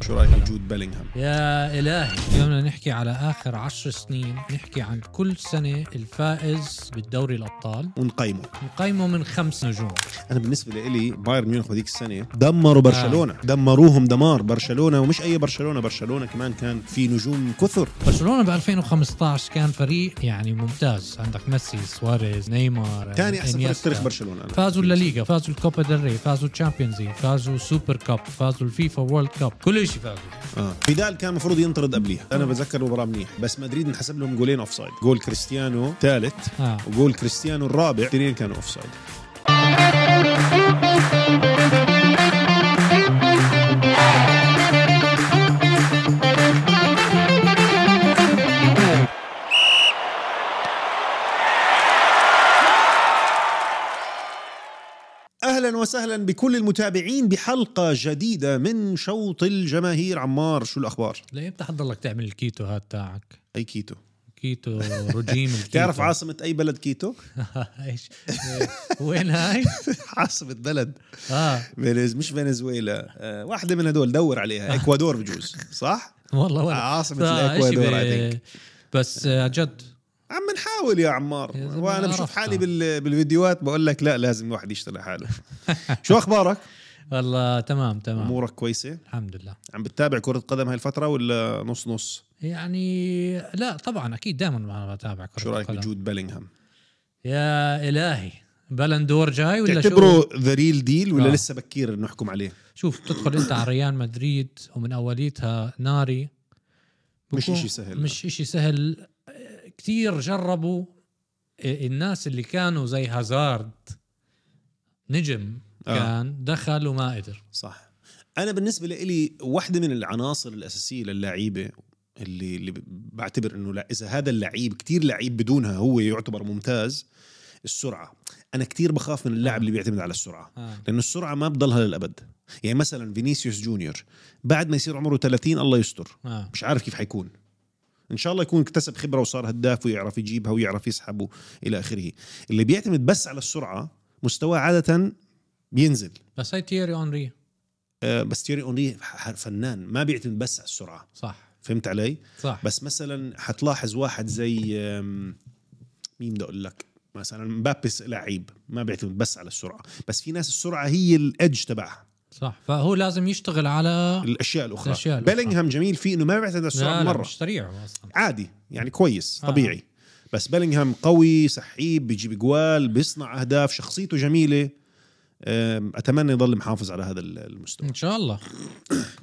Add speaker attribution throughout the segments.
Speaker 1: شو رايك بوجود بيلينغهام؟
Speaker 2: يا إلهي اليوم بدنا نحكي على آخر عشر سنين نحكي عن كل سنة الفائز بالدوري الأبطال
Speaker 1: ونقيمه
Speaker 2: نقيمه من خمس نجوم
Speaker 1: انا بالنسبه لي بايرن ميونخ هذيك السنه دمروا برشلونه آه. دمروهم دمار برشلونه ومش اي برشلونه برشلونه كمان كان في نجوم كثر
Speaker 2: برشلونة ب 2015 كان فريق يعني ممتاز عندك ميسي سواريز نيمار
Speaker 1: ثاني احسن فريق
Speaker 2: إنيستا.
Speaker 1: تاريخ برشلونه أنا.
Speaker 2: فازوا الليغا فازوا الكوبا ديل ري فازوا تشامبيونز ليج فازوا سوبر كاب فازوا الفيفا وورلد كاب كل شيء فازوا
Speaker 1: آه. فيدال كان المفروض ينطرد قبليها انا بتذكر مباراه منيح بس مدريد انحسب لهم جولين اوف سايد جول كريستيانو ثالث
Speaker 2: آه.
Speaker 1: وجول كريستيانو الرابع اثنين كانوا اوف سايد اهلا وسهلا بكل المتابعين بحلقه جديده من شوط الجماهير عمار شو الاخبار
Speaker 2: لإمتى حضلك تعمل الكيتو هاد تاعك؟
Speaker 1: اي كيتو
Speaker 2: كيتو رجيم الكيتو
Speaker 1: تعرف عاصمه اي بلد كيتو
Speaker 2: ايش وين هاي؟
Speaker 1: عاصمه بلد
Speaker 2: اه
Speaker 1: فينز مش فنزويلا آه، واحدة من هدول دور عليها اكوادور بجوز صح؟
Speaker 2: والله ولا
Speaker 1: عاصمة
Speaker 2: فا إشي
Speaker 1: الإكوادور،
Speaker 2: ب-
Speaker 1: I
Speaker 2: بس آه، جد
Speaker 1: عم نحاول يا عمار
Speaker 2: يا زلمة
Speaker 1: وانا بشوف
Speaker 2: عرفتها.
Speaker 1: حالي بال... بالفيديوهات بقول لك لا لازم الواحد يشتغل على حاله شو اخبارك؟
Speaker 2: والله تمام تمام
Speaker 1: امورك كويسة؟
Speaker 2: الحمد لله
Speaker 1: عم بتتابع كرة قدم هاي الفترة ولا نص نص؟
Speaker 2: يعني لا طبعا اكيد دائما بتابع كره
Speaker 1: شو رايك
Speaker 2: القدم.
Speaker 1: بجود بيلينغهام؟
Speaker 2: يا الهي بلندور جاي ولا شو
Speaker 1: تعتبره ذا ريل ديل ولا
Speaker 2: آه.
Speaker 1: لسه بكير إنه نحكم عليه؟
Speaker 2: شوف تدخل انت على ريال مدريد ومن اوليتها ناري
Speaker 1: مش
Speaker 2: بكون-
Speaker 1: إشي سهل.
Speaker 2: مش اشي سهل كثير جربوا الناس اللي كانوا زي هازارد نجم
Speaker 1: آه.
Speaker 2: كان دخل وما قدر
Speaker 1: صح انا بالنسبه لي واحده من العناصر الاساسيه للعيبه اللي اللي بعتبر انه لا اذا هذا اللعيب كتير لعيب بدونها هو يعتبر ممتاز السرعه انا كتير بخاف من اللاعب اللي بيعتمد على السرعه
Speaker 2: آه.
Speaker 1: لانه السرعه ما بضلها للابد يعني مثلا فينيسيوس جونيور بعد ما يصير عمره 30 الله يستر
Speaker 2: آه.
Speaker 1: مش عارف كيف حيكون ان شاء الله يكون اكتسب خبره وصار هداف ويعرف يجيبها ويعرف يسحب الى اخره اللي بيعتمد بس على السرعه مستواه عاده بينزل
Speaker 2: بس هي تيري اونري
Speaker 1: آه، بس تيري اونري ح- فنان ما بيعتمد بس على السرعه
Speaker 2: صح
Speaker 1: فهمت علي
Speaker 2: صح
Speaker 1: بس مثلا حتلاحظ واحد زي آم، مين بدي اقول لك مثلا مبابي س- لعيب ما بيعتمد بس على السرعه بس في ناس السرعه هي الادج تبعها
Speaker 2: صح فهو لازم يشتغل على
Speaker 1: الاشياء الاخرى,
Speaker 2: آه.
Speaker 1: الأخرى.
Speaker 2: الأشياء الأخرى.
Speaker 1: بيلينغهام جميل فيه انه ما بيعتمد على
Speaker 2: لا
Speaker 1: السرعه
Speaker 2: لا
Speaker 1: مره
Speaker 2: مش سريع اصلا
Speaker 1: عادي يعني كويس
Speaker 2: آه.
Speaker 1: طبيعي بس بيلينغهام قوي سحيب بيجيب جوال بيصنع اهداف شخصيته جميله آم، اتمنى يضل محافظ على هذا ال- المستوى
Speaker 2: ان شاء الله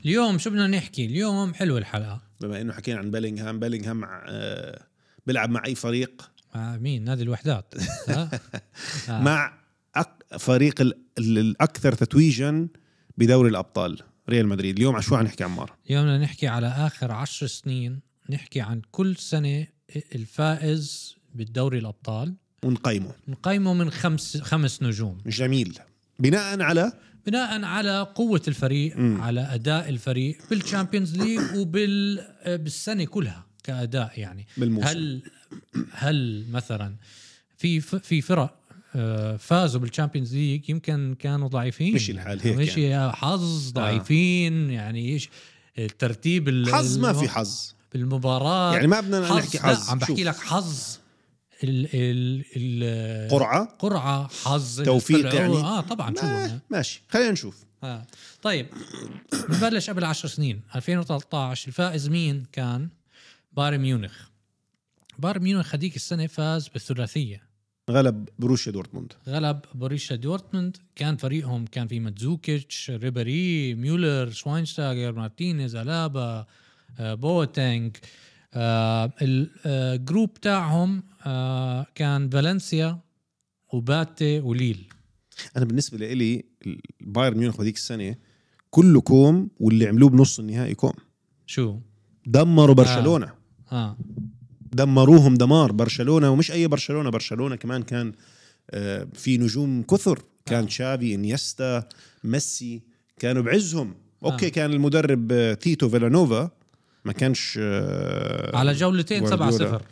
Speaker 2: اليوم شو بدنا نحكي اليوم حلو الحلقه
Speaker 1: بما انه حكينا عن بيلينغهام بيلينغهام آه، بيلعب مع اي فريق
Speaker 2: مع مين نادي الوحدات ها؟ آه.
Speaker 1: مع أك... فريق ال... ال- الاكثر تتويجا بدوري الابطال ريال مدريد اليوم على شو حنحكي عمار
Speaker 2: اليوم بدنا نحكي على اخر عشر سنين نحكي عن كل سنه الفائز بالدوري الابطال
Speaker 1: ونقيمه
Speaker 2: نقيمه من خمس خمس نجوم
Speaker 1: جميل بناء على
Speaker 2: بناء على قوه الفريق
Speaker 1: مم.
Speaker 2: على اداء الفريق بالشامبيونز ليج وبال بالسنه كلها كاداء يعني
Speaker 1: بالموسم هل...
Speaker 2: هل هل مثلا في ف- في فرق آه، فازوا بالشامبيونز ليج يمكن كانوا ضعيفين
Speaker 1: مشي الحال هيك يعني.
Speaker 2: مشي حظ ضعيفين يعني ايش الترتيب ال-
Speaker 1: حظ ما
Speaker 2: الم-
Speaker 1: في حظ
Speaker 2: بالمباراه
Speaker 1: يعني ما بدنا نحكي
Speaker 2: لا،
Speaker 1: حظ
Speaker 2: عم بحكي
Speaker 1: شوف.
Speaker 2: لك حظ ال ال ال
Speaker 1: قرعه
Speaker 2: قرعه حظ
Speaker 1: توفيق
Speaker 2: الطلعوا-
Speaker 1: يعني؟
Speaker 2: اه طبعا شو
Speaker 1: ما... ماشي خلينا نشوف
Speaker 2: آه. طيب بنبلش قبل 10 سنين 2013 الفائز مين كان بايرن ميونخ بايرن ميونخ هذيك السنه فاز بالثلاثيه
Speaker 1: غلب بروسيا دورتموند
Speaker 2: غلب بوريشا دورتموند كان فريقهم كان في ماتزوكيتش ريبيري ميولر شواينشتاجر مارتينيز الابا آه، بوتينغ آه، الجروب تاعهم آه، كان فالنسيا وباتي وليل
Speaker 1: انا بالنسبه لي بايرن ميونخ هذيك السنه كله كوم واللي عملوه بنص النهائي كوم
Speaker 2: شو
Speaker 1: دمروا برشلونه آه.
Speaker 2: اه
Speaker 1: دمروهم دمار برشلونه ومش اي برشلونه برشلونه كمان كان آه، في نجوم كثر كان آه. شافي انيستا ميسي كانوا بعزهم اوكي آه. كان المدرب آه، تيتو فيلانوفا ما كانش آه،
Speaker 2: على جولتين 7
Speaker 1: غوارديولا.
Speaker 2: 0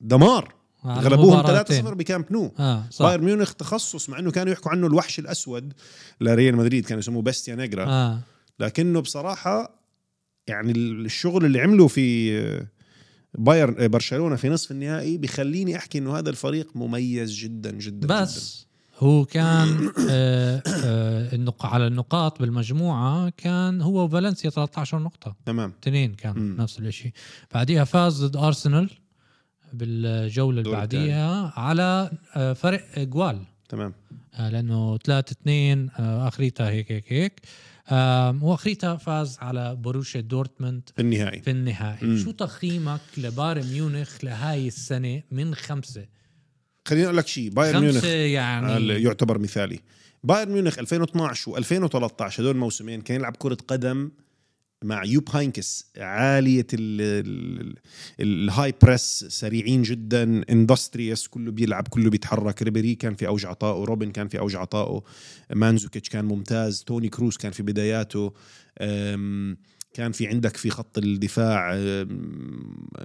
Speaker 1: دمار
Speaker 2: آه، على
Speaker 1: غلبوهم
Speaker 2: مباراتين.
Speaker 1: 3-0 بكامب نو
Speaker 2: اه صح
Speaker 1: بايرن ميونخ تخصص مع انه كانوا يحكوا عنه الوحش الاسود لريال مدريد كانوا يسموه باستيا نيجرا
Speaker 2: اه
Speaker 1: لكنه بصراحه يعني الشغل اللي عمله في بايرن برشلونه في نصف النهائي بخليني احكي انه هذا الفريق مميز جدا جدا جداً.
Speaker 2: بس هو كان آه، آه، النق- على النقاط بالمجموعه كان هو وفالنسيا 13 نقطه
Speaker 1: تمام
Speaker 2: اثنين كان
Speaker 1: مم.
Speaker 2: نفس الشيء بعديها فاز ضد ارسنال بالجوله اللي
Speaker 1: الدور
Speaker 2: بعديها على آه، فرق جوال
Speaker 1: تمام
Speaker 2: آه، لانه 3 2 اخريتها آه، هيك هيك هيك آم، واخريتها فاز على بروسيا دورتموند
Speaker 1: في النهائي
Speaker 2: في النهائي
Speaker 1: مم.
Speaker 2: شو تقييمك لبايرن ميونخ لهاي السنه من خمسة
Speaker 1: خليني اقول لك شيء بايرن ميونخ
Speaker 2: خمسة
Speaker 1: هل
Speaker 2: يعني
Speaker 1: يعتبر مثالي بايرن ميونخ 2012 و2013 هدول الموسمين كان يلعب كرة قدم مع يوب هاينكس عالية ال- ال- ال- الهاي بريس سريعين جدا اندستريس كله بيلعب كله بيتحرك ريبيري كان في اوج عطائه روبن كان في اوج عطائه مانزوكيتش كان ممتاز توني كروس كان في بداياته أم، كان في عندك في خط الدفاع أم،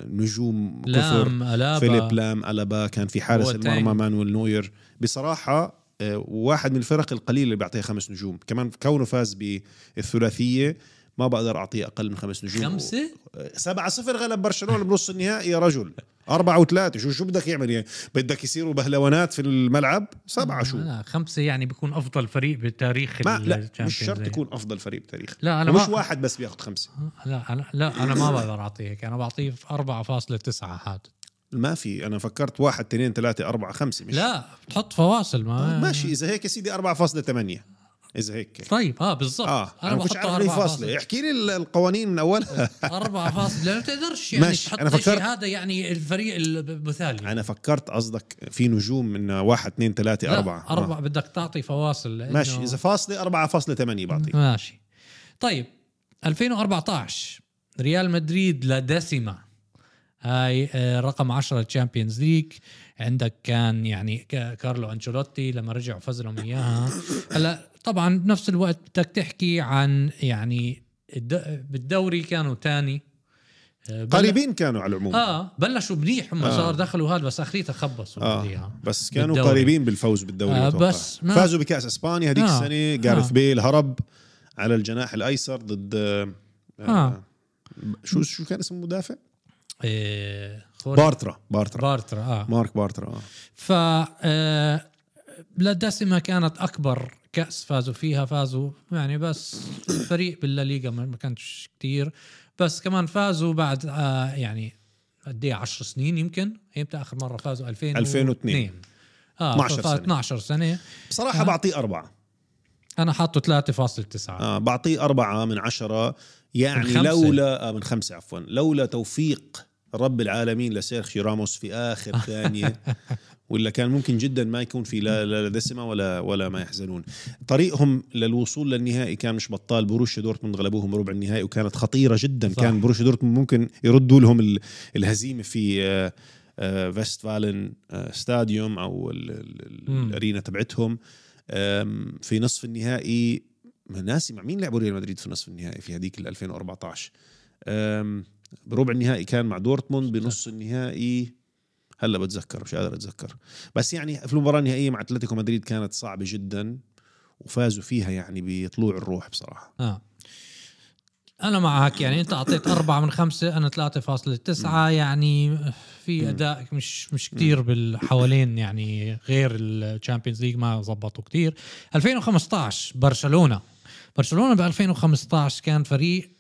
Speaker 1: نجوم كثر
Speaker 2: لام الابا
Speaker 1: فيليب لام الابا كان في حارس
Speaker 2: بوتينج.
Speaker 1: المرمى مانويل نوير بصراحه آه، واحد من الفرق القليله اللي بيعطيها خمس نجوم كمان كونه فاز بالثلاثيه ما بقدر اعطيه اقل من خمس نجوم
Speaker 2: خمسة؟
Speaker 1: آه، سبعة صفر غلب برشلونه بنص النهائي يا رجل أربعة وثلاثة شو شو بدك يعمل يعني بدك يصيروا بهلوانات في الملعب سبعة شو
Speaker 2: لا خمسة يعني بيكون افضل فريق بتاريخ
Speaker 1: ما
Speaker 2: ال-
Speaker 1: لا
Speaker 2: Champions
Speaker 1: مش شرط
Speaker 2: League.
Speaker 1: يكون أفضل فريق بتاريخ
Speaker 2: لا انا
Speaker 1: مش
Speaker 2: ما
Speaker 1: واحد بس بياخذ خمسة
Speaker 2: أه، لا انا لا انا ما بقدر اعطيه هيك انا بعطيه في 4.9 هاد
Speaker 1: ما في أنا فكرت واحد اثنين ثلاثة أربعة خمسة مش
Speaker 2: لا بتحط فواصل ما
Speaker 1: آه، ماشي إذا هيك يا سيدي 4.8 إذا هيك
Speaker 2: طيب اه بالضبط
Speaker 1: اه انا
Speaker 2: انا
Speaker 1: ما كنتش
Speaker 2: بحطه
Speaker 1: عارف ليه فاصله
Speaker 2: 4.9
Speaker 1: احكي لي ال- القوانين من اولها
Speaker 2: أربعة فاصل لا تقدرش يعني
Speaker 1: ماشي،
Speaker 2: تحط
Speaker 1: أنا
Speaker 2: أنا فكرت...
Speaker 1: فكرت-
Speaker 2: هذا يعني الفريق المثالي
Speaker 1: انا فكرت قصدك في نجوم من واحد اثنين ثلاثه
Speaker 2: لا،
Speaker 1: اربعه
Speaker 2: أربعة
Speaker 1: آه.
Speaker 2: بدك تعطي فواصل لأنه...
Speaker 1: ماشي اذا فاصله 4.8 بعطيك
Speaker 2: ماشي طيب 2014 ريال مدريد لدسمة هاي آه، رقم 10 تشامبيونز ليج عندك كان يعني ك- كارلو انشيلوتي لما رجعوا فاز لهم اياها هلا طبعا بنفس الوقت بدك تحكي عن يعني الد- بالدوري كانوا تاني آه، بل-
Speaker 1: قريبين كانوا على العموم
Speaker 2: اه بلشوا منيح هم
Speaker 1: آه.
Speaker 2: صار دخلوا هذا بس اخريتها خبصوا
Speaker 1: آه.
Speaker 2: آه.
Speaker 1: بس كانوا
Speaker 2: بالدوري.
Speaker 1: قريبين بالفوز بالدوري
Speaker 2: آه،
Speaker 1: آه
Speaker 2: بس ما-
Speaker 1: فازوا بكاس اسبانيا هذيك
Speaker 2: آه،
Speaker 1: السنه جارث
Speaker 2: آه.
Speaker 1: بيل هرب على الجناح الايسر ضد آه.
Speaker 2: آه.
Speaker 1: آه. شو شو كان اسم المدافع؟
Speaker 2: إيه خوري
Speaker 1: بارترا بارترا
Speaker 2: بارترا اه
Speaker 1: مارك بارترا آه.
Speaker 2: ف لدسمة كانت اكبر كاس فازوا فيها فازوا يعني بس الفريق بالليغا ما ما كانش كتير بس كمان فازوا بعد آه يعني قد ايه 10 سنين يمكن امتى اخر مره فازوا 2002
Speaker 1: 2002.
Speaker 2: اه
Speaker 1: 12 سنة.
Speaker 2: 12 سنه 12 سنه
Speaker 1: بصراحه
Speaker 2: آه.
Speaker 1: بعطيه اربعه
Speaker 2: انا حاطه 3.9 آه.
Speaker 1: آه بعطيه أربعة من عشرة يعني
Speaker 2: من
Speaker 1: من
Speaker 2: خمسة.
Speaker 1: لولا آه من خمسة عفوا لولا توفيق رب العالمين لسيرخيو راموس في آخر ثانية ولا كان ممكن جدا ما يكون في لا لا دسمة ولا ولا ما يحزنون طريقهم للوصول للنهائي كان مش بطال بروشيا دورتموند غلبوهم ربع النهائي وكانت خطيرة جدا
Speaker 2: صح.
Speaker 1: صح. كان بروشيا دورتموند ممكن يردوا لهم ال- الهزيمة في آه، آه، فيستفالن آه، ستاديوم او ال- ال- ال-
Speaker 2: مم.
Speaker 1: الارينا تبعتهم آم، في نصف النهائي ما ناسي مع مين لعبوا ريال مدريد في نصف النهائي في هذيك ال 2014 آم، بربع النهائي كان مع دورتموند بنص النهائي هلا بتذكر مش قادر اتذكر بس يعني في المباراه النهائيه مع اتلتيكو مدريد كانت صعبه جدا وفازوا فيها يعني بطلوع الروح بصراحه
Speaker 2: اه انا معك يعني انت اعطيت أربعة من خمسة انا 3.9 يعني في اداء مش مش كثير بالحوالين يعني غير الشامبيونز ليج ما زبطوا كثير 2015 برشلونه برشلونه ب 2015 كان فريق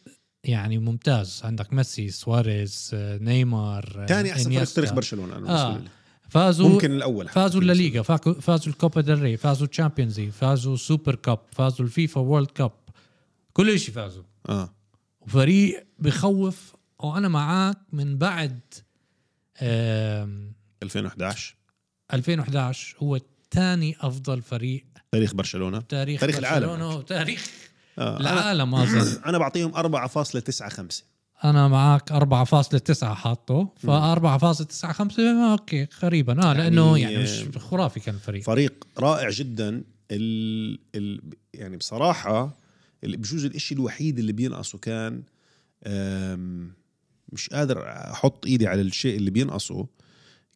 Speaker 2: يعني ممتاز عندك ميسي سواريز آه، نيمار آه،
Speaker 1: ثاني احسن فريق
Speaker 2: إنيستا.
Speaker 1: تاريخ برشلونه انا
Speaker 2: آه.
Speaker 1: بالنسبة لي.
Speaker 2: فازوا
Speaker 1: ممكن الاول حتى
Speaker 2: فازوا
Speaker 1: بالنسبة لي.
Speaker 2: الليغا فاكو- فازوا الكوبا ديل ري فازوا تشامبيونز ليج فازوا سوبر كاب فازوا الفيفا وورلد كاب كل شيء فازوا
Speaker 1: اه
Speaker 2: وفريق بخوف وانا معاك من بعد آم،
Speaker 1: 2011
Speaker 2: 2011 هو ثاني افضل فريق
Speaker 1: تاريخ برشلونه
Speaker 2: تاريخ
Speaker 1: تاريخ العالم. يعني.
Speaker 2: برشلونة وتاريخ
Speaker 1: آه.
Speaker 2: العالم اظن
Speaker 1: انا بعطيهم 4.95
Speaker 2: انا معاك 4.9 حاطه ف 4.95 اوكي قريبا اه لانه يعني مش خرافي كان الفريق
Speaker 1: فريق رائع جدا ال... ال... يعني بصراحه ال- بجوز الإشي الوحيد اللي بينقصه كان أم، مش قادر احط ايدي على الشيء اللي بينقصه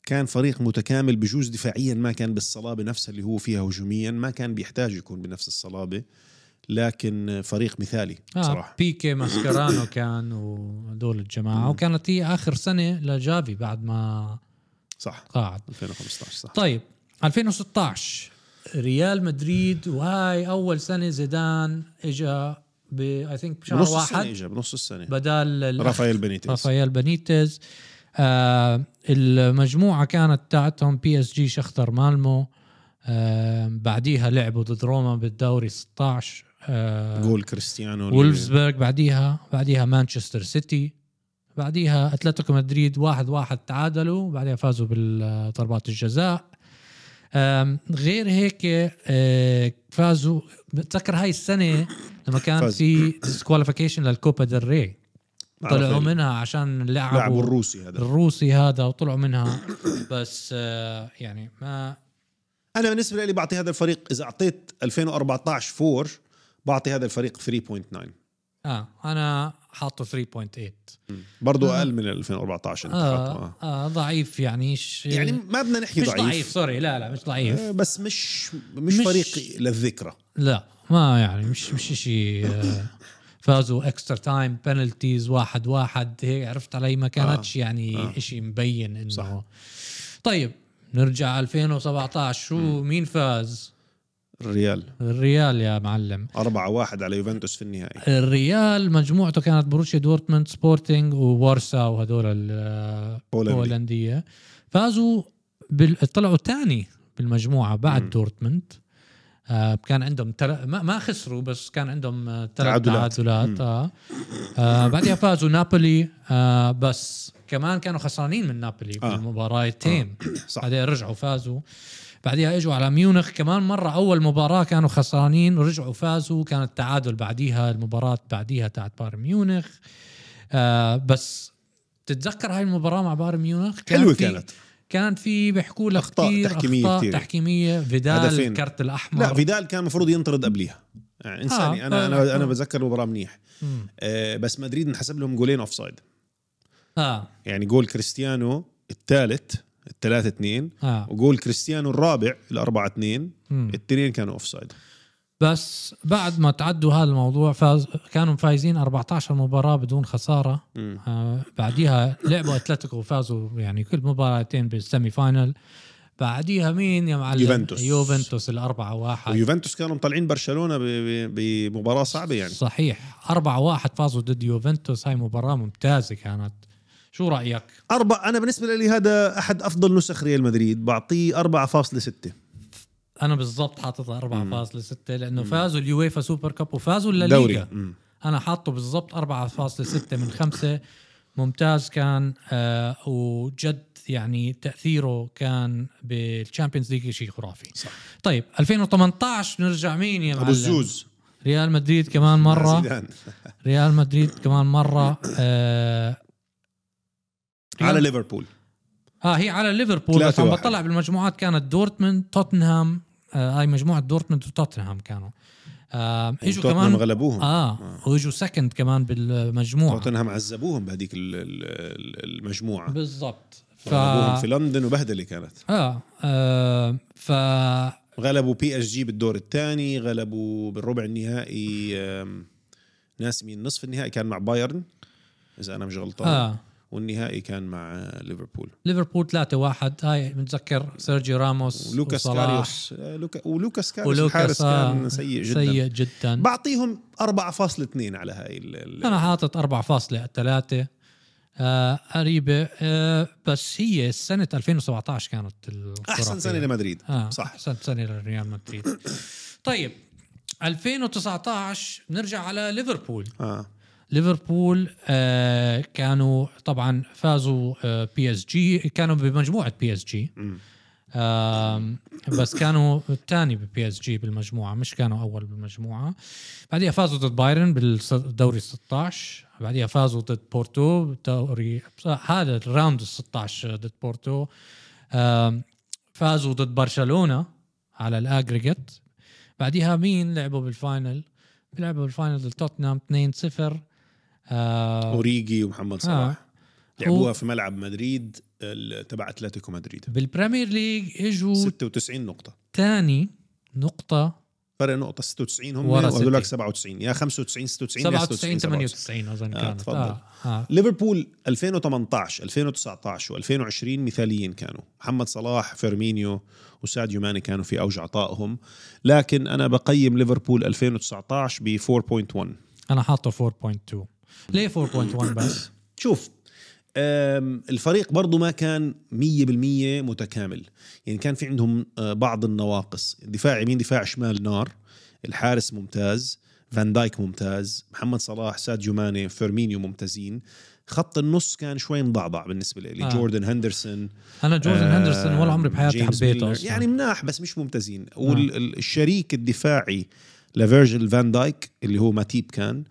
Speaker 1: كان فريق متكامل بجوز دفاعيا ما كان بالصلابه نفسها اللي هو فيها هجوميا ما كان بيحتاج يكون بنفس الصلابه لكن فريق مثالي
Speaker 2: آه
Speaker 1: بصراحه
Speaker 2: بيكي ماسكرانو كان وهدول الجماعه وكانت هي اخر سنه لجافي بعد ما
Speaker 1: صح
Speaker 2: قاعد
Speaker 1: 2015 صح
Speaker 2: طيب 2016 ريال مدريد وهاي اول سنه زيدان اجى ب اي ثينك بشهر
Speaker 1: بنص السنه
Speaker 2: واحد
Speaker 1: اجى بنص السنه
Speaker 2: بدال الأخ
Speaker 1: رافائيل بنيتيز
Speaker 2: رافائيل بنيتز آه المجموعه كانت تاعتهم بي اس جي شختر مالمو آه بعديها لعبوا ضد روما بالدوري 16 آه
Speaker 1: جول كريستيانو
Speaker 2: وولفسبرغ بعديها بعديها مانشستر سيتي بعديها اتلتيكو مدريد واحد واحد تعادلوا بعدها فازوا بالضربات الجزاء أم، غير هيك أه، فازوا بتذكر هاي السنه لما كان
Speaker 1: فاز.
Speaker 2: في ديسكواليفيكيشن للكوبا ديل ري
Speaker 1: مع
Speaker 2: طلعوا
Speaker 1: رافائيل.
Speaker 2: منها عشان
Speaker 1: لاعبوا
Speaker 2: لعبوا
Speaker 1: الروسي هذا
Speaker 2: الروسي هذا وطلعوا منها بس أه، يعني ما
Speaker 1: انا بالنسبه لي بعطي هذا الفريق اذا اعطيت 2014 4 بعطي هذا الفريق 3.9
Speaker 2: اه انا حاطه 3.8
Speaker 1: برضه
Speaker 2: آه.
Speaker 1: اقل من 2014 انت حاطه،
Speaker 2: آه,
Speaker 1: آه.
Speaker 2: اه ضعيف يعني ش...
Speaker 1: يعني ما بدنا نحكي
Speaker 2: مش ضعيف. ضعيف
Speaker 1: ضعيف
Speaker 2: سوري لا لا مش ضعيف
Speaker 1: آه، بس مش مش,
Speaker 2: مش-
Speaker 1: فريق للذكرى
Speaker 2: لا ما يعني مش مش شيء فازوا اكسترا تايم بنالتيز واحد واحد هيك عرفت علي ما كانتش يعني
Speaker 1: آه.
Speaker 2: شيء مبين انه
Speaker 1: صح.
Speaker 2: طيب نرجع 2017 شو مين فاز؟
Speaker 1: الريال
Speaker 2: الريال يا معلم
Speaker 1: 4-1 على يوفنتوس في النهائي
Speaker 2: الريال مجموعته كانت بروسيا دورتموند سبورتينج وورسا وهدول ال- آه،
Speaker 1: بولندي.
Speaker 2: البولنديه فازوا بال... طلعوا ثاني بالمجموعه بعد
Speaker 1: مم.
Speaker 2: دورتموند آه كان عندهم تل... ما... ما خسروا بس كان عندهم آه، ثلاث
Speaker 1: تعادلات.
Speaker 2: تعادلات
Speaker 1: مم.
Speaker 2: آه. آه بعدها فازوا نابولي آه بس كمان كانوا خسرانين من نابولي
Speaker 1: آه.
Speaker 2: بالمباراتين
Speaker 1: صح
Speaker 2: بعدها رجعوا فازوا بعدها اجوا على ميونخ كمان مره اول مباراه كانوا خسرانين رجعوا فازوا كان التعادل بعديها المباراه بعديها تاعت بايرن ميونخ آه بس تتذكر هاي المباراه مع بايرن ميونخ كان
Speaker 1: حلوه
Speaker 2: في-
Speaker 1: كانت
Speaker 2: كان في بيحكوا لك
Speaker 1: أخطاء
Speaker 2: كثير
Speaker 1: تحكيمية
Speaker 2: اخطاء
Speaker 1: كتير.
Speaker 2: تحكيميه فيدال
Speaker 1: هدفين.
Speaker 2: الكرت الاحمر
Speaker 1: لا فيدال كان المفروض ينطرد قبليها يعني انساني
Speaker 2: آه،
Speaker 1: انا
Speaker 2: آه،
Speaker 1: انا انا
Speaker 2: آه.
Speaker 1: بتذكر المباراه منيح
Speaker 2: مم.
Speaker 1: آه، بس مدريد انحسب لهم جولين اوف سايد
Speaker 2: اه
Speaker 1: يعني جول كريستيانو الثالث الثلاثة اثنين
Speaker 2: اه
Speaker 1: وجول كريستيانو الرابع الأربعة اثنين
Speaker 2: مم.
Speaker 1: التنين كانوا اوف سايد
Speaker 2: بس بعد ما تعدوا هذا الموضوع فاز كانوا فايزين 14 مباراه بدون خساره آه، بعديها لعبوا اتلتيكو وفازوا يعني كل مباراتين بالسيمي فاينل بعديها مين يا معلم
Speaker 1: يوفنتوس.
Speaker 2: يوفنتوس الأربعة واحد
Speaker 1: ويوفنتوس كانوا مطلعين برشلونة ب- ب- بمباراة صعبة يعني
Speaker 2: صحيح أربعة واحد فازوا ضد يوفنتوس هاي مباراة ممتازة كانت شو رأيك
Speaker 1: أربع أنا بالنسبة لي هذا أحد أفضل نسخ ريال مدريد بعطيه 4.6
Speaker 2: أنا بالضبط حاططها أربعة فاصلة ستة لأنه فازوا اليويفا سوبر كاب وفازوا الليغا
Speaker 1: دوري مم.
Speaker 2: أنا حاطه بالضبط أربعة فاصلة ستة من خمسة ممتاز كان آه وجد يعني تأثيره كان بالشامبيونز ليج شيء خرافي
Speaker 1: صح
Speaker 2: طيب 2018 نرجع مين يا معلم
Speaker 1: أبو الزوز
Speaker 2: ريال مدريد كمان مره
Speaker 1: زيدان.
Speaker 2: ريال مدريد كمان مره آه
Speaker 1: على ليفربول يعني
Speaker 2: اه هي على ليفربول بس
Speaker 1: ثلاثة
Speaker 2: عم
Speaker 1: واحد.
Speaker 2: بطلع بالمجموعات كانت دورتموند توتنهام آه هاي مجموعه دورتموند وتوتنهام كانوا آه اجوا
Speaker 1: يعني توتنهام آه.
Speaker 2: كمان
Speaker 1: غلبوهم
Speaker 2: اه واجوا سكند كمان بالمجموعه
Speaker 1: توتنهام عذبوهم بهذيك ال- ال- المجموعة
Speaker 2: بالضبط ف
Speaker 1: غلبوهم في لندن وبهدلة كانت
Speaker 2: اه, آه ف
Speaker 1: غلبوا بي اس جي بالدور الثاني غلبوا بالربع النهائي آم، ناس مين نصف النهائي كان مع بايرن اذا انا مش غلطان آه.
Speaker 2: اه
Speaker 1: والنهائي كان مع آه، ليفربول
Speaker 2: ليفربول 3-1 هاي بنتذكر سيرجيو راموس
Speaker 1: لوكاس
Speaker 2: وصلاح.
Speaker 1: كاريوس آه، لوكا ولوكاس كاريوس
Speaker 2: ولوكاس
Speaker 1: الحارس
Speaker 2: آه،
Speaker 1: كان سيء جدا سيء.
Speaker 2: سيء جدا
Speaker 1: بعطيهم 4.2 على هاي ال- ال-
Speaker 2: انا حاطط 4.3 آه قريبه آه بس هي سنه 2017 كانت الخرافية.
Speaker 1: احسن سنه لمدريد
Speaker 2: آه
Speaker 1: آه. صح
Speaker 2: احسن سنه لريال مدريد طيب 2019 نرجع على ليفربول
Speaker 1: اه
Speaker 2: ليفربول آه كانوا طبعا فازوا آه بي اس جي كانوا بمجموعه بي اس جي
Speaker 1: مم.
Speaker 2: آم، بس كانوا الثاني ببي اس جي بالمجموعه مش كانوا اول بالمجموعه بعدها فازوا ضد بايرن بالدوري 16 بعدها فازوا ضد بورتو بالدوري هذا الراوند ال 16 ضد بورتو آم، فازوا ضد برشلونه على الاجريجيت بعدها مين لعبوا بالفاينل لعبوا بالفاينل ضد توتنهام 2-0 آه،
Speaker 1: اوريجي ومحمد صلاح
Speaker 2: آه.
Speaker 1: آه. لعبوها
Speaker 2: و-
Speaker 1: في ملعب مدريد ال- تبع اتلتيكو مدريد
Speaker 2: بالبريمير ليج اجوا
Speaker 1: 96 نقطه
Speaker 2: تاني نقطة
Speaker 1: فرق نقطه 96 هم
Speaker 2: ورا
Speaker 1: وهذول لك
Speaker 2: City.
Speaker 1: 97 يا 95 96 يا
Speaker 2: 97
Speaker 1: 98
Speaker 2: 98 اظن
Speaker 1: آه،
Speaker 2: كانت
Speaker 1: تفضل.
Speaker 2: اه اه
Speaker 1: ليفربول 2018 2019 و2020 مثاليين كانوا محمد صلاح فيرمينيو وساديو ماني كانوا في اوج عطائهم لكن انا بقيم ليفربول 2019 ب 4.1
Speaker 2: انا حاطه 4.2 ليه 4.1 بس؟
Speaker 1: شوف أم، الفريق برضو ما كان 100% متكامل يعني كان في عندهم آه، بعض النواقص دفاع يمين دفاع شمال نار الحارس ممتاز فان دايك ممتاز محمد صلاح ساديو ماني فيرمينيو ممتازين خط النص كان شوي مضعضع بالنسبه لي
Speaker 2: آه.
Speaker 1: آه. جوردن هندرسون
Speaker 2: انا جوردن
Speaker 1: آه،
Speaker 2: هندرسون ولا عمري بحياتي
Speaker 1: جيمس
Speaker 2: حبيته آه.
Speaker 1: ميلنر.
Speaker 2: اصلا
Speaker 1: يعني مناح بس مش ممتازين والشريك الدفاعي لفيرجل فان دايك اللي هو ماتيب كان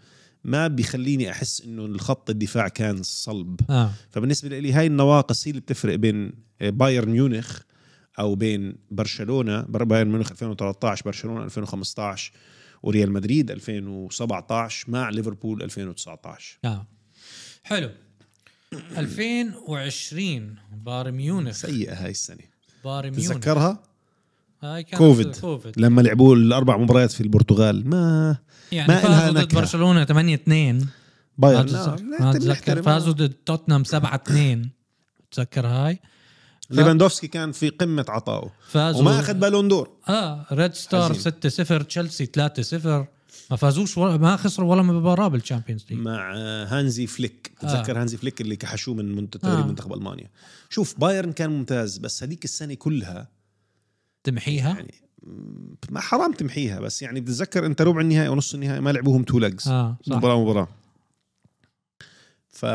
Speaker 1: ما بيخليني احس انه الخط الدفاع كان صلب
Speaker 2: اه
Speaker 1: فبالنسبه لي هاي النواقص هي اللي بتفرق بين بايرن ميونخ او بين برشلونه بر- بايرن ميونخ 2013 برشلونه 2015 وريال مدريد 2017 مع ليفربول 2019
Speaker 2: اه حلو 2020 بايرن ميونخ
Speaker 1: سيئه هاي السنه
Speaker 2: بايرن ميونخ
Speaker 1: تتذكرها
Speaker 2: هاي كانت
Speaker 1: كوفيد.
Speaker 2: كوفيد
Speaker 1: لما لعبوا الاربع مباريات في البرتغال ما
Speaker 2: يعني
Speaker 1: ما إلها
Speaker 2: فازوا ضد
Speaker 1: نكهة.
Speaker 2: برشلونه 8 2 ما
Speaker 1: بايرن
Speaker 2: أتذكر-
Speaker 1: لا،
Speaker 2: ما
Speaker 1: أنت
Speaker 2: اتذكر
Speaker 1: بنحترم.
Speaker 2: فازوا ضد توتنهام 7 2 تذكر هاي
Speaker 1: ليفاندوفسكي كان في قمه عطائه
Speaker 2: فازوا
Speaker 1: وما اخذ بالون دور
Speaker 2: اه ريد ستار
Speaker 1: حزين.
Speaker 2: 6 0 تشيلسي 3 0 ما فازوش ولا ما خسروا ولا مباراه بالشامبيونز ليج
Speaker 1: مع هانزي فليك تتذكر هانزي فليك اللي كحشوه من من تدريب
Speaker 2: آه.
Speaker 1: منتخب المانيا شوف بايرن كان ممتاز بس هذيك السنه كلها
Speaker 2: تمحيها
Speaker 1: يعني م- ما حرام تمحيها بس يعني بتتذكر انت ربع النهائي ونص النهائي ما لعبوهم تو ليجز
Speaker 2: اه صح
Speaker 1: مباراه مباراه ف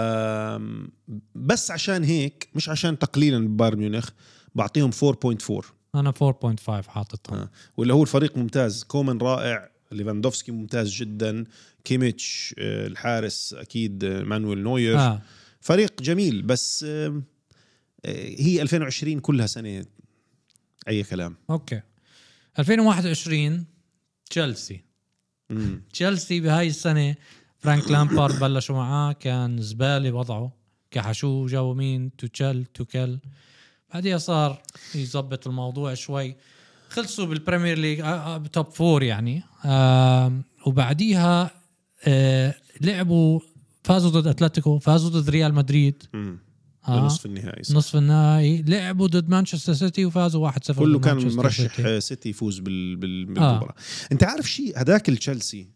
Speaker 1: بس عشان هيك مش عشان تقليلا من بايرن ميونخ بعطيهم 4.4
Speaker 2: انا 4.5 حاططها
Speaker 1: آه. واللي هو الفريق ممتاز كومان رائع ليفاندوفسكي ممتاز جدا كيميتش آه، الحارس اكيد آه، مانويل نوير آه.
Speaker 2: اه
Speaker 1: فريق جميل بس آه، آه، هي 2020 كلها سنه اي كلام
Speaker 2: اوكي 2021 تشيلسي
Speaker 1: مم.
Speaker 2: تشيلسي بهاي السنه فرانك لامبارد بلشوا معاه كان زباله وضعه كحشوه جابوا مين توتشل توكل بعدها صار يظبط الموضوع شوي خلصوا بالبريمير ليج آه، آه، توب فور يعني آم، وبعديها آه، لعبوا فازوا ضد اتلتيكو فازوا ضد ريال مدريد
Speaker 1: مم.
Speaker 2: آه،
Speaker 1: نصف النهائي صح.
Speaker 2: نصف النهائي لعبوا ضد مانشستر سيتي وفازوا 1-0
Speaker 1: كله
Speaker 2: ضد
Speaker 1: كان
Speaker 2: مانشستر
Speaker 1: مرشح
Speaker 2: سيتي. آه.
Speaker 1: آه، سيتي يفوز بال... بال... بالمباراه انت عارف شيء هداك التشيلسي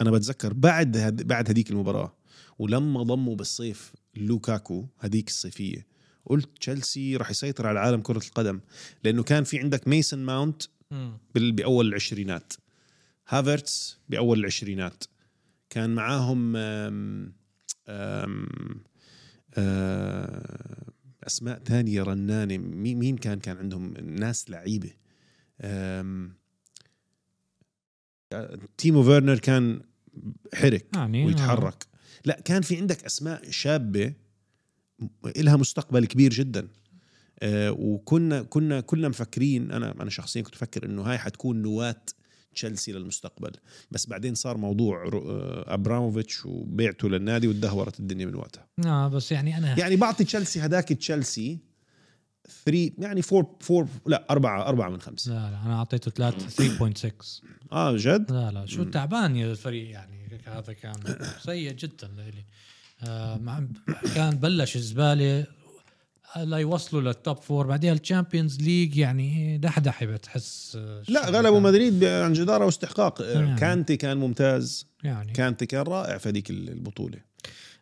Speaker 1: انا بتذكر بعد هد... بعد هديك المباراه ولما ضموا بالصيف لوكاكو هديك الصيفيه قلت تشيلسي راح يسيطر على عالم كره القدم لانه كان في عندك ميسن ماونت
Speaker 2: مم.
Speaker 1: بال... باول العشرينات هافرتس باول العشرينات كان معاهم آم... آم... آه، اسماء تانية رنانه مي- مين كان كان عندهم ناس لعيبه آم، آه، تيمو فيرنر كان حرك
Speaker 2: يعني
Speaker 1: ويتحرك لا كان في عندك اسماء شابه إلها مستقبل كبير جدا آه، وكنا كنا كلنا مفكرين انا انا شخصيا كنت افكر انه هاي حتكون نواه تشيلسي للمستقبل بس بعدين صار موضوع رو- آه، ابراموفيتش وبيعته للنادي وتدهورت الدنيا من وقتها
Speaker 2: اه بس يعني انا
Speaker 1: يعني بعطي تشيلسي هداك تشيلسي 3 يعني 4 4 لا 4 4 من 5
Speaker 2: لا لا انا اعطيته 3 3.6
Speaker 1: اه جد
Speaker 2: لا لا شو
Speaker 1: مم.
Speaker 2: تعبان يا الفريق يعني هذا كان سيء جدا لإلي آه مع- كان بلش زباله لا يوصلوا للتوب فور بعدين الشامبيونز ليج يعني دحدحه بتحس آه،
Speaker 1: لا
Speaker 2: شو
Speaker 1: غلبوا
Speaker 2: كان-
Speaker 1: مدريد ب- عن جداره واستحقاق آه،
Speaker 2: يعني.
Speaker 1: كانتي كان ممتاز
Speaker 2: يعني
Speaker 1: كانتي كان رائع في هذيك البطوله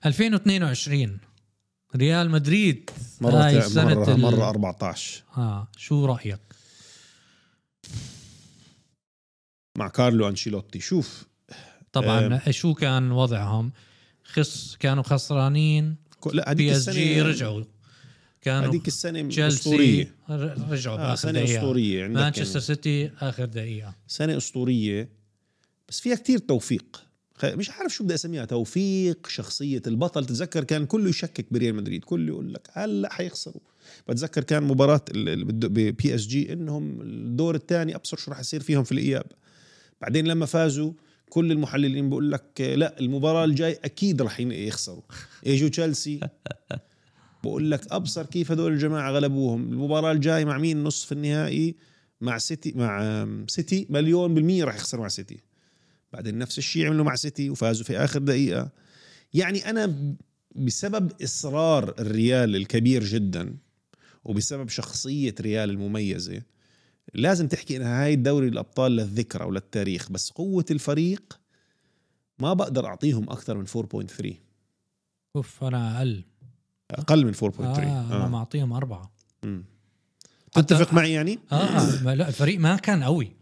Speaker 2: 2022 ريال مدريد
Speaker 1: مره
Speaker 2: هاي
Speaker 1: تا-
Speaker 2: السنة
Speaker 1: مره
Speaker 2: ال-
Speaker 1: مره 14
Speaker 2: اه شو رايك؟
Speaker 1: مع كارلو انشيلوتي شوف
Speaker 2: طبعا شو كان وضعهم؟ خص كانوا خسرانين
Speaker 1: ك- لا هذيك
Speaker 2: بي اس جي
Speaker 1: السنه
Speaker 2: رجعوا كانوا
Speaker 1: هذيك السنه
Speaker 2: تشيلسي
Speaker 1: اسطوريه
Speaker 2: ر- رجعوا
Speaker 1: آه
Speaker 2: باخر
Speaker 1: سنه
Speaker 2: دقيقه
Speaker 1: اسطوريه عندك
Speaker 2: مانشستر
Speaker 1: مانشستر
Speaker 2: سيتي اخر دقيقه
Speaker 1: سنه اسطوريه بس فيها كتير توفيق خ- مش عارف شو بدي اسميها توفيق شخصيه البطل تتذكر كان كله يشكك بريال مدريد كله يقول لك هلا حيخسروا بتذكر كان مباراه بي اس جي انهم الدور الثاني ابصر شو راح يصير فيهم في الاياب بعدين لما فازوا كل المحللين بيقول لك آه، لا المباراه الجاي اكيد راح ين- يخسروا اجوا تشيلسي بقول لك ابصر كيف هدول الجماعه غلبوهم المباراه الجاي مع مين نصف النهائي مع سيتي مع آم، سيتي مليون بالمية راح يخسر مع سيتي بعدين نفس الشيء عملوا مع سيتي وفازوا في آخر دقيقة يعني أنا ب- بسبب إصرار الريال الكبير جدا وبسبب شخصية ريال المميزة لازم تحكي إن هاي الدوري الأبطال للذكرى وللتاريخ بس قوة الفريق ما بقدر أعطيهم أكثر من 4.3
Speaker 2: اوف انا اقل
Speaker 1: أقل من 4.3
Speaker 2: آه انا معطيهم اربعه
Speaker 1: مم.
Speaker 2: حتى-
Speaker 1: تتفق معي يعني
Speaker 2: اه ما لا الفريق ما كان قوي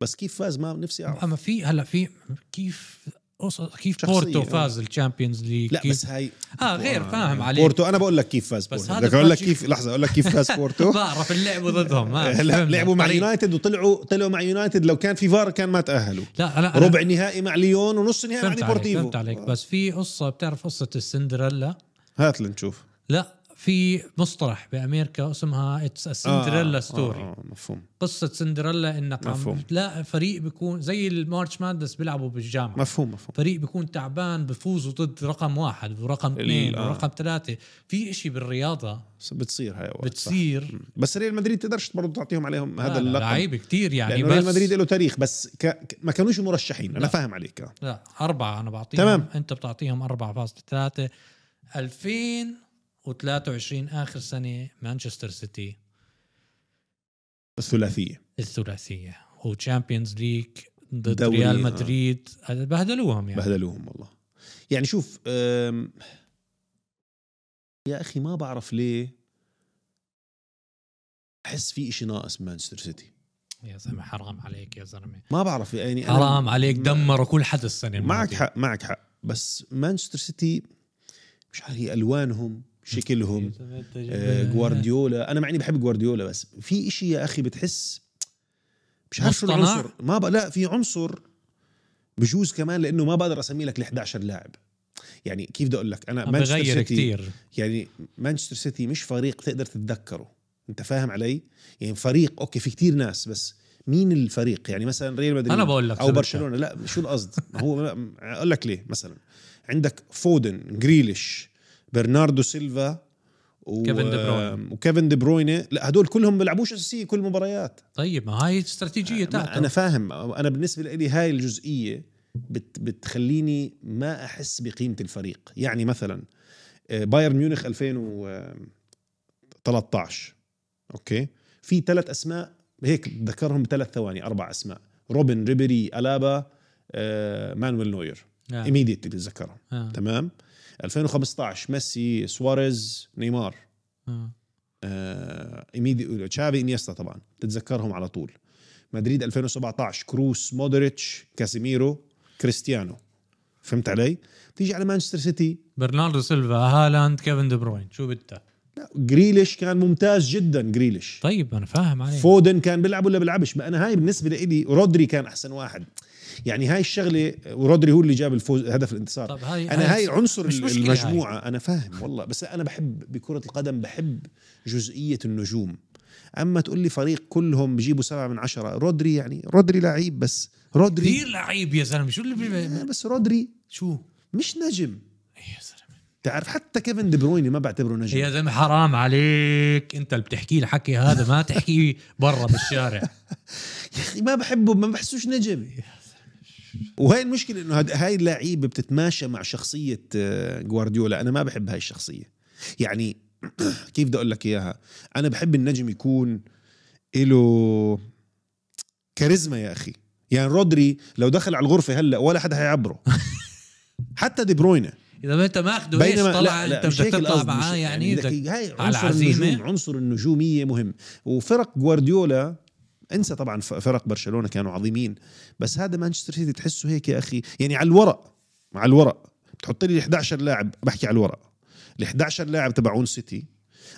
Speaker 1: بس كيف فاز ما نفسي أعرف
Speaker 2: اما في هلا في كيف أص- كيف
Speaker 1: شخصية،
Speaker 2: بورتو
Speaker 1: آه.
Speaker 2: فاز الشامبيونز ليج
Speaker 1: لا
Speaker 2: كيف-
Speaker 1: بس هاي
Speaker 2: اه غير فاهم عليك
Speaker 1: بورتو انا بقول لك كيف فاز
Speaker 2: بس
Speaker 1: بورتو
Speaker 2: هذا
Speaker 1: بدك اقول لك
Speaker 2: فاز-
Speaker 1: كيف لحظه اقول لك كيف فاز بورتو
Speaker 2: بعرف اللعبوا ضدهم آه،
Speaker 1: هلا
Speaker 2: فهمنا.
Speaker 1: لعبوا مع
Speaker 2: فريق.
Speaker 1: يونايتد وطلعوا طلعوا مع يونايتد لو كان في فار كان ما تاهلوا
Speaker 2: لا انا أنا
Speaker 1: ربع يعني نهائي مع ليون ونص نهائي مع
Speaker 2: فهمت عليك
Speaker 1: ديبورتيفو
Speaker 2: فهمت عليك بس في قصه بتعرف قصه السندريلا
Speaker 1: هات لنشوف
Speaker 2: لا في مصطلح بامريكا اسمها اتس سندريلا ستوري
Speaker 1: آه آه مفهوم
Speaker 2: قصه سندريلا انك عم
Speaker 1: مفهوم.
Speaker 2: بتلاقي فريق بيكون زي المارش مادنس بيلعبوا بالجامعه
Speaker 1: مفهوم مفهوم
Speaker 2: فريق بيكون تعبان بفوزوا ضد رقم واحد ورقم اثنين
Speaker 1: آه.
Speaker 2: ورقم ثلاثه في إشي بالرياضه
Speaker 1: بس بتصير هاي اوقات
Speaker 2: بتصير
Speaker 1: صح. بس ريال مدريد تقدرش برضه تعطيهم عليهم هذا اللقب
Speaker 2: لعيبه كثير يعني
Speaker 1: لانه
Speaker 2: بس
Speaker 1: ريال مدريد له تاريخ بس ك... ك- ما كانوش مرشحين انا
Speaker 2: لا.
Speaker 1: فاهم عليك آه.
Speaker 2: لا أربعة أنا بعطيهم
Speaker 1: تمام.
Speaker 2: أنت بتعطيهم 4.3 2023 آخر سنة مانشستر سيتي
Speaker 1: الثلاثيه
Speaker 2: الثلاثية وتشامبيونز ليج ضد
Speaker 1: دوري،
Speaker 2: ريال
Speaker 1: آه.
Speaker 2: مدريد بهدلوهم يعني
Speaker 1: بهدلوهم والله يعني شوف أم، يا اخي ما بعرف ليه احس في إشي ناقص بمانشستر سيتي
Speaker 2: يا زلمة حرام عليك يا زلمة
Speaker 1: ما بعرف يعني أنا-
Speaker 2: حرام عليك يعني دمروا كل حد السنة
Speaker 1: معك
Speaker 2: الماضية.
Speaker 1: حق معك حق بس مانشستر سيتي مش عارف هي الوانهم شكلهم آه، جوارديولا انا معني بحب جوارديولا بس في إشي يا اخي بتحس مش عارف شو
Speaker 2: مصطنع؟
Speaker 1: العنصر ما بق... لا في عنصر بجوز كمان لانه ما بقدر اسمي لك ال 11 لاعب يعني كيف بدي اقول لك انا
Speaker 2: عم
Speaker 1: مانشستر
Speaker 2: بغير
Speaker 1: سيتي
Speaker 2: كثير
Speaker 1: يعني مانشستر سيتي مش فريق تقدر تتذكره انت فاهم علي يعني فريق اوكي في كتير ناس بس مين الفريق يعني مثلا ريال مدريد
Speaker 2: أنا بقول لك
Speaker 1: او
Speaker 2: سبتها.
Speaker 1: برشلونه لا شو القصد ما هو لا، اقول لك ليه مثلا عندك فودن جريليش برناردو سيلفا و...
Speaker 2: كيفن دي بروين.
Speaker 1: وكيفن دي بروين لا هدول كلهم بيلعبوش اساسيه كل مباريات
Speaker 2: طيب ما هاي استراتيجية
Speaker 1: ما
Speaker 2: تاعته
Speaker 1: انا فاهم انا بالنسبه لي هاي الجزئيه بت بتخليني ما احس بقيمه الفريق يعني مثلا آه، بايرن ميونخ آه، 2013 اوكي في ثلاث اسماء هيك ذكرهم بثلاث ثواني اربع اسماء روبن ريبيري الابا آه، مانويل نوير
Speaker 2: آه.
Speaker 1: ايميديتلي ذكرهم
Speaker 2: آه.
Speaker 1: تمام 2015 ميسي سواريز نيمار
Speaker 2: آه.
Speaker 1: آه، ايميدي تشافي انيستا طبعا تتذكرهم على طول مدريد 2017 كروس مودريتش كاسيميرو كريستيانو فهمت علي؟ تيجي على مانشستر سيتي
Speaker 2: برناردو سيلفا هالاند كيفن دي بروين شو بدك
Speaker 1: لا، جريليش كان ممتاز جدا جريليش
Speaker 2: طيب انا فاهم عليك
Speaker 1: فودن كان بيلعب ولا بيلعبش ما انا هاي بالنسبه لي رودري كان احسن واحد يعني هاي الشغله ورودري هو اللي جاب الفوز هدف الانتصار
Speaker 2: طب هاي
Speaker 1: انا هاي عنصر
Speaker 2: مش مشكلة
Speaker 1: المجموعه انا فاهم والله بس انا بحب بكره القدم بحب جزئيه النجوم اما تقول لي فريق كلهم بجيبوا سبعة من عشرة رودري يعني رودري لعيب بس رودري
Speaker 2: كثير لعيب يا زلمه شو اللي بي...
Speaker 1: آه، بس رودري
Speaker 2: شو
Speaker 1: مش نجم
Speaker 2: يا زلمه
Speaker 1: تعرف حتى كيفن دي برويني ما بعتبره نجم
Speaker 2: يا زلمه حرام عليك انت اللي بتحكي الحكي هذا ما تحكيه برا بالشارع
Speaker 1: يا اخي ما بحبه ما بحسوش نجم وهي المشكله انه هاد- هاي اللعيبه بتتماشى مع شخصيه آه، جوارديولا انا ما بحب هاي الشخصيه يعني كيف بدي اقول لك اياها انا بحب النجم يكون له كاريزما يا اخي يعني رودري لو دخل على الغرفه هلا ولا حدا حيعبره حتى دي بروينه
Speaker 2: اذا انت ماخذه ايش طلع انت
Speaker 1: مش
Speaker 2: بدك
Speaker 1: هيك
Speaker 2: تطلع
Speaker 1: القصد،
Speaker 2: معاه
Speaker 1: مش-
Speaker 2: يعني
Speaker 1: بدك-
Speaker 2: بدك
Speaker 1: هاي
Speaker 2: على
Speaker 1: عنصر
Speaker 2: عزيمة.
Speaker 1: النجوم عنصر النجوميه مهم وفرق جوارديولا انسى طبعا ف- فرق برشلونه كانوا عظيمين بس هذا مانشستر سيتي تحسه هيك يا اخي يعني على الورق على الورق بتحط لي 11 لاعب بحكي على الورق ال 11 لاعب تبعون سيتي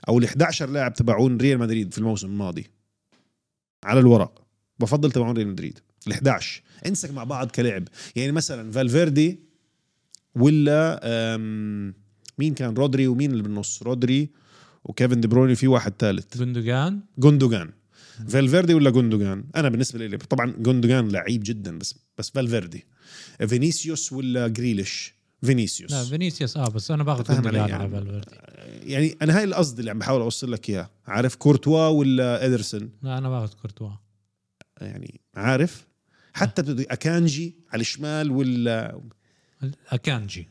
Speaker 1: او ال 11 لاعب تبعون ريال مدريد في الموسم الماضي على الورق بفضل تبعون ريال مدريد ال 11 انسك مع بعض كلعب يعني مثلا فالفيردي ولا أم، مين كان رودري ومين اللي بالنص رودري وكيفن دي بروين في واحد ثالث
Speaker 2: بندقان
Speaker 1: جوندوجان فالفيردي ولا جوندوجان انا بالنسبه لي طبعا جوندوجان لعيب جدا بس بس فالفيردي فينيسيوس ولا جريليش
Speaker 2: لا
Speaker 1: فينيسيوس
Speaker 2: فينيسيوس اه بس انا باخذ
Speaker 1: فاهم
Speaker 2: بندقان
Speaker 1: علي
Speaker 2: على
Speaker 1: يعني.
Speaker 2: فالفيردي
Speaker 1: يعني انا هاي القصد اللي عم بحاول اوصل لك اياه عارف كورتوا ولا ادرسن
Speaker 2: لا انا باخذ كورتوا
Speaker 1: يعني عارف حتى بده اكانجي على الشمال ولا
Speaker 2: اكانجي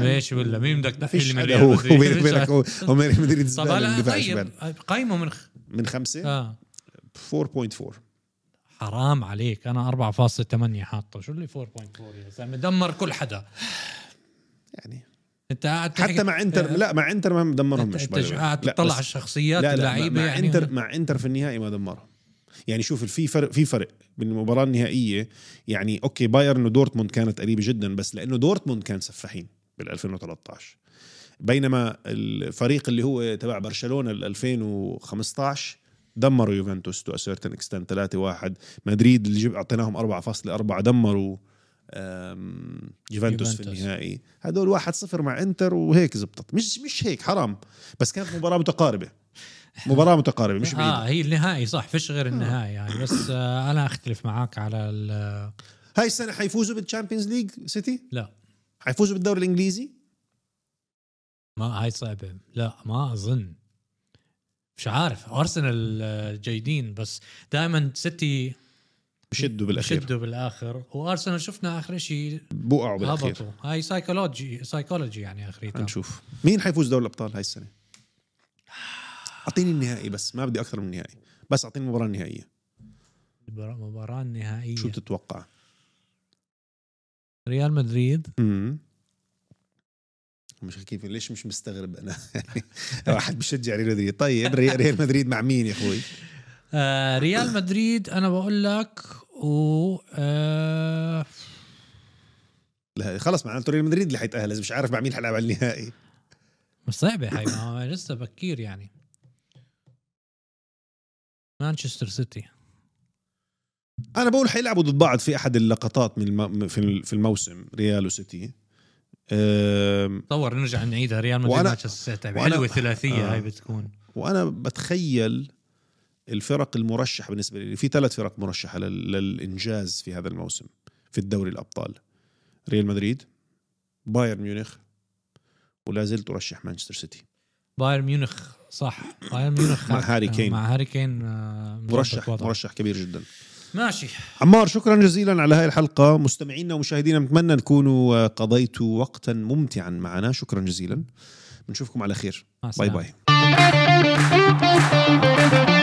Speaker 2: ليش ولا مين بدك تحكي
Speaker 1: يعني فيش
Speaker 2: لي من
Speaker 1: حدا
Speaker 2: ريال
Speaker 1: هو
Speaker 2: مدريد؟
Speaker 1: وبينك
Speaker 2: فيش
Speaker 1: وبينك
Speaker 2: حدا.
Speaker 1: هو هو ريال مدريد
Speaker 2: طب
Speaker 1: زبالة
Speaker 2: هلا
Speaker 1: بالدفاع الشمال
Speaker 2: طيب قيمه من خ...
Speaker 1: من خمسة
Speaker 2: اه
Speaker 1: 4.4
Speaker 2: حرام عليك انا 4.8 حاطه شو اللي 4.4 يا زلمه دمر كل حدا
Speaker 1: يعني
Speaker 2: انت قاعد تحكي-
Speaker 1: حتى مع انتر لا مع انتر ما مدمرهم
Speaker 2: انت
Speaker 1: مش
Speaker 2: أنت قاعد تطلع على الشخصيات
Speaker 1: لا لا
Speaker 2: اللعيبه
Speaker 1: مع
Speaker 2: يعني
Speaker 1: انتر مع انتر في النهائي ما دمرهم يعني شوف في فرق في فرق بين المباراه النهائيه يعني اوكي بايرن ودورتموند كانت قريبه جدا بس لانه دورتموند كان سفاحين بال 2013 بينما الفريق اللي هو تبع برشلونه ال 2015 دمروا يوفنتوس تو اسيرتن اكستنت 3-1 مدريد اللي جب اعطيناهم 4.4 دمروا آم، يوفنتوس في
Speaker 2: يوفنتوس.
Speaker 1: النهائي هدول 1-0 مع انتر وهيك زبطت مش مش هيك حرام بس كانت مباراه متقاربه مباراه متقاربه مش آه. بعيده
Speaker 2: اه هي النهائي صح فيش غير النهائي يعني بس آه انا اختلف معاك على ال-
Speaker 1: هاي السنه حيفوزوا بالتشامبيونز ليج سيتي
Speaker 2: لا
Speaker 1: حيفوزوا بالدوري الانجليزي
Speaker 2: ما هاي صعبه لا ما اظن مش عارف ارسنال آه، جيدين بس دائما سيتي
Speaker 1: بشدوا بالاخير
Speaker 2: شدوا بالاخر وارسنال شفنا اخر شيء
Speaker 1: بوقعوا بالاخير
Speaker 2: هبطوا هاي سايكولوجي سايكولوجي يعني اخريتها
Speaker 1: هنشوف مين حيفوز دوري الابطال هاي السنه اعطيني النهائي بس ما بدي اكثر من النهائي بس اعطيني المباراه النهائيه
Speaker 2: المبار- المباراه النهائيه
Speaker 1: شو بتتوقع
Speaker 2: ريال مدريد
Speaker 1: امم مش كيف ليش مش مستغرب انا واحد بشجع ريال مدريد طيب ري- ريال مدريد مع مين يا اخوي
Speaker 2: آه ريال مدريد انا بقول لك و آه
Speaker 1: لا، خلص معناته ريال مدريد اللي حيتاهل إذا مش عارف مع مين حلعب على النهائي
Speaker 2: بس صعبه هاي ما- ما لسه بكير يعني مانشستر سيتي
Speaker 1: انا بقول حيلعبوا ضد بعض في احد اللقطات من الم... في ال- في الموسم ريال وسيتي أم،
Speaker 2: تصور نرجع نعيدها ريال مدريد
Speaker 1: وأنا-
Speaker 2: مانشستر سيتي
Speaker 1: وأنا-
Speaker 2: حلوه ثلاثيه
Speaker 1: آه.
Speaker 2: هاي بتكون
Speaker 1: وانا بتخيل الفرق المرشح بالنسبه لي في ثلاث فرق مرشحه لل... للانجاز في هذا الموسم في الدوري الابطال ريال مدريد بايرن ميونخ ولا زلت ارشح مانشستر سيتي
Speaker 2: بايرن ميونخ صح بايرن ميونخ
Speaker 1: مع هاري كين.
Speaker 2: مع هاري كين آه، مظبط
Speaker 1: مرشح
Speaker 2: وضعه.
Speaker 1: مرشح كبير جدا
Speaker 2: ماشي
Speaker 1: عمار شكرا جزيلا على هاي الحلقة مستمعينا ومشاهدينا نتمنى نكونوا قضيتوا وقتا ممتعا معنا شكرا جزيلا بنشوفكم على خير
Speaker 2: مع
Speaker 1: باي
Speaker 2: السلامة.
Speaker 1: باي